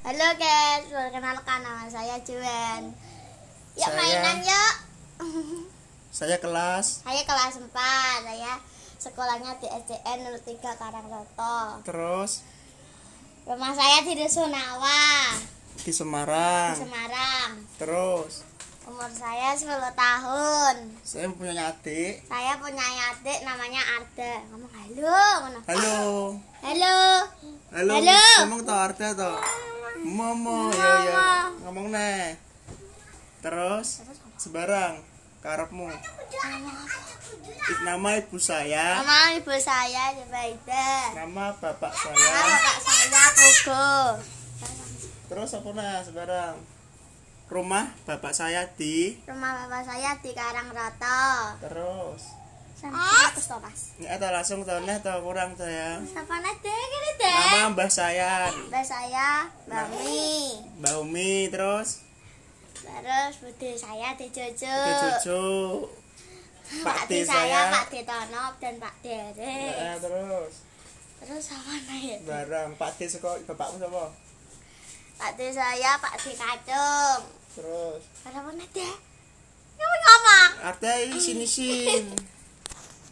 Halo guys, perkenalkan nama saya Juwen. Yuk Saya- mainan yuk. Saya kelas, Saya kelas 4, saya sekolahnya di SDN 03 Karangsoto. terus Rumah saya di Dusun Awa, di Semarang, Semarang. terus Umur saya 10 tahun. saya punya adik. Saya punya adik namanya Arda. Ngomong halo, ngono. Halo, Halo. halo, Halo. ngomong toh Arda toh. Momo, yo yo, ngomong nih. Terus sebarang karepmu. Nama ibu saya, Nama ibu saya Jubaida. nama bapak Nama saya. bapak saya Pugo. Terus apa nah sebarang? Rumah bapak saya di Rumah bapak saya di Karangsoto. terus. Sampai aku Thomas. Ini atau langsung toh neh toh kurang toh ya. Siapa nanti gini deh? Nama mbah saya, Mbak saya Mbak Mi, Mbak Umi, terus terus bude saya Dek Jojo, Ke Jojo Pak D T Eh, saya Pak D Tonop dan Pak Nah, Dere. terus Terus sama nih barang Pak D seko bapakmu sapa? Pak D saya Pak D Kacung. Terus Kenapa nanti? Kamu ngomong. ada sini sin.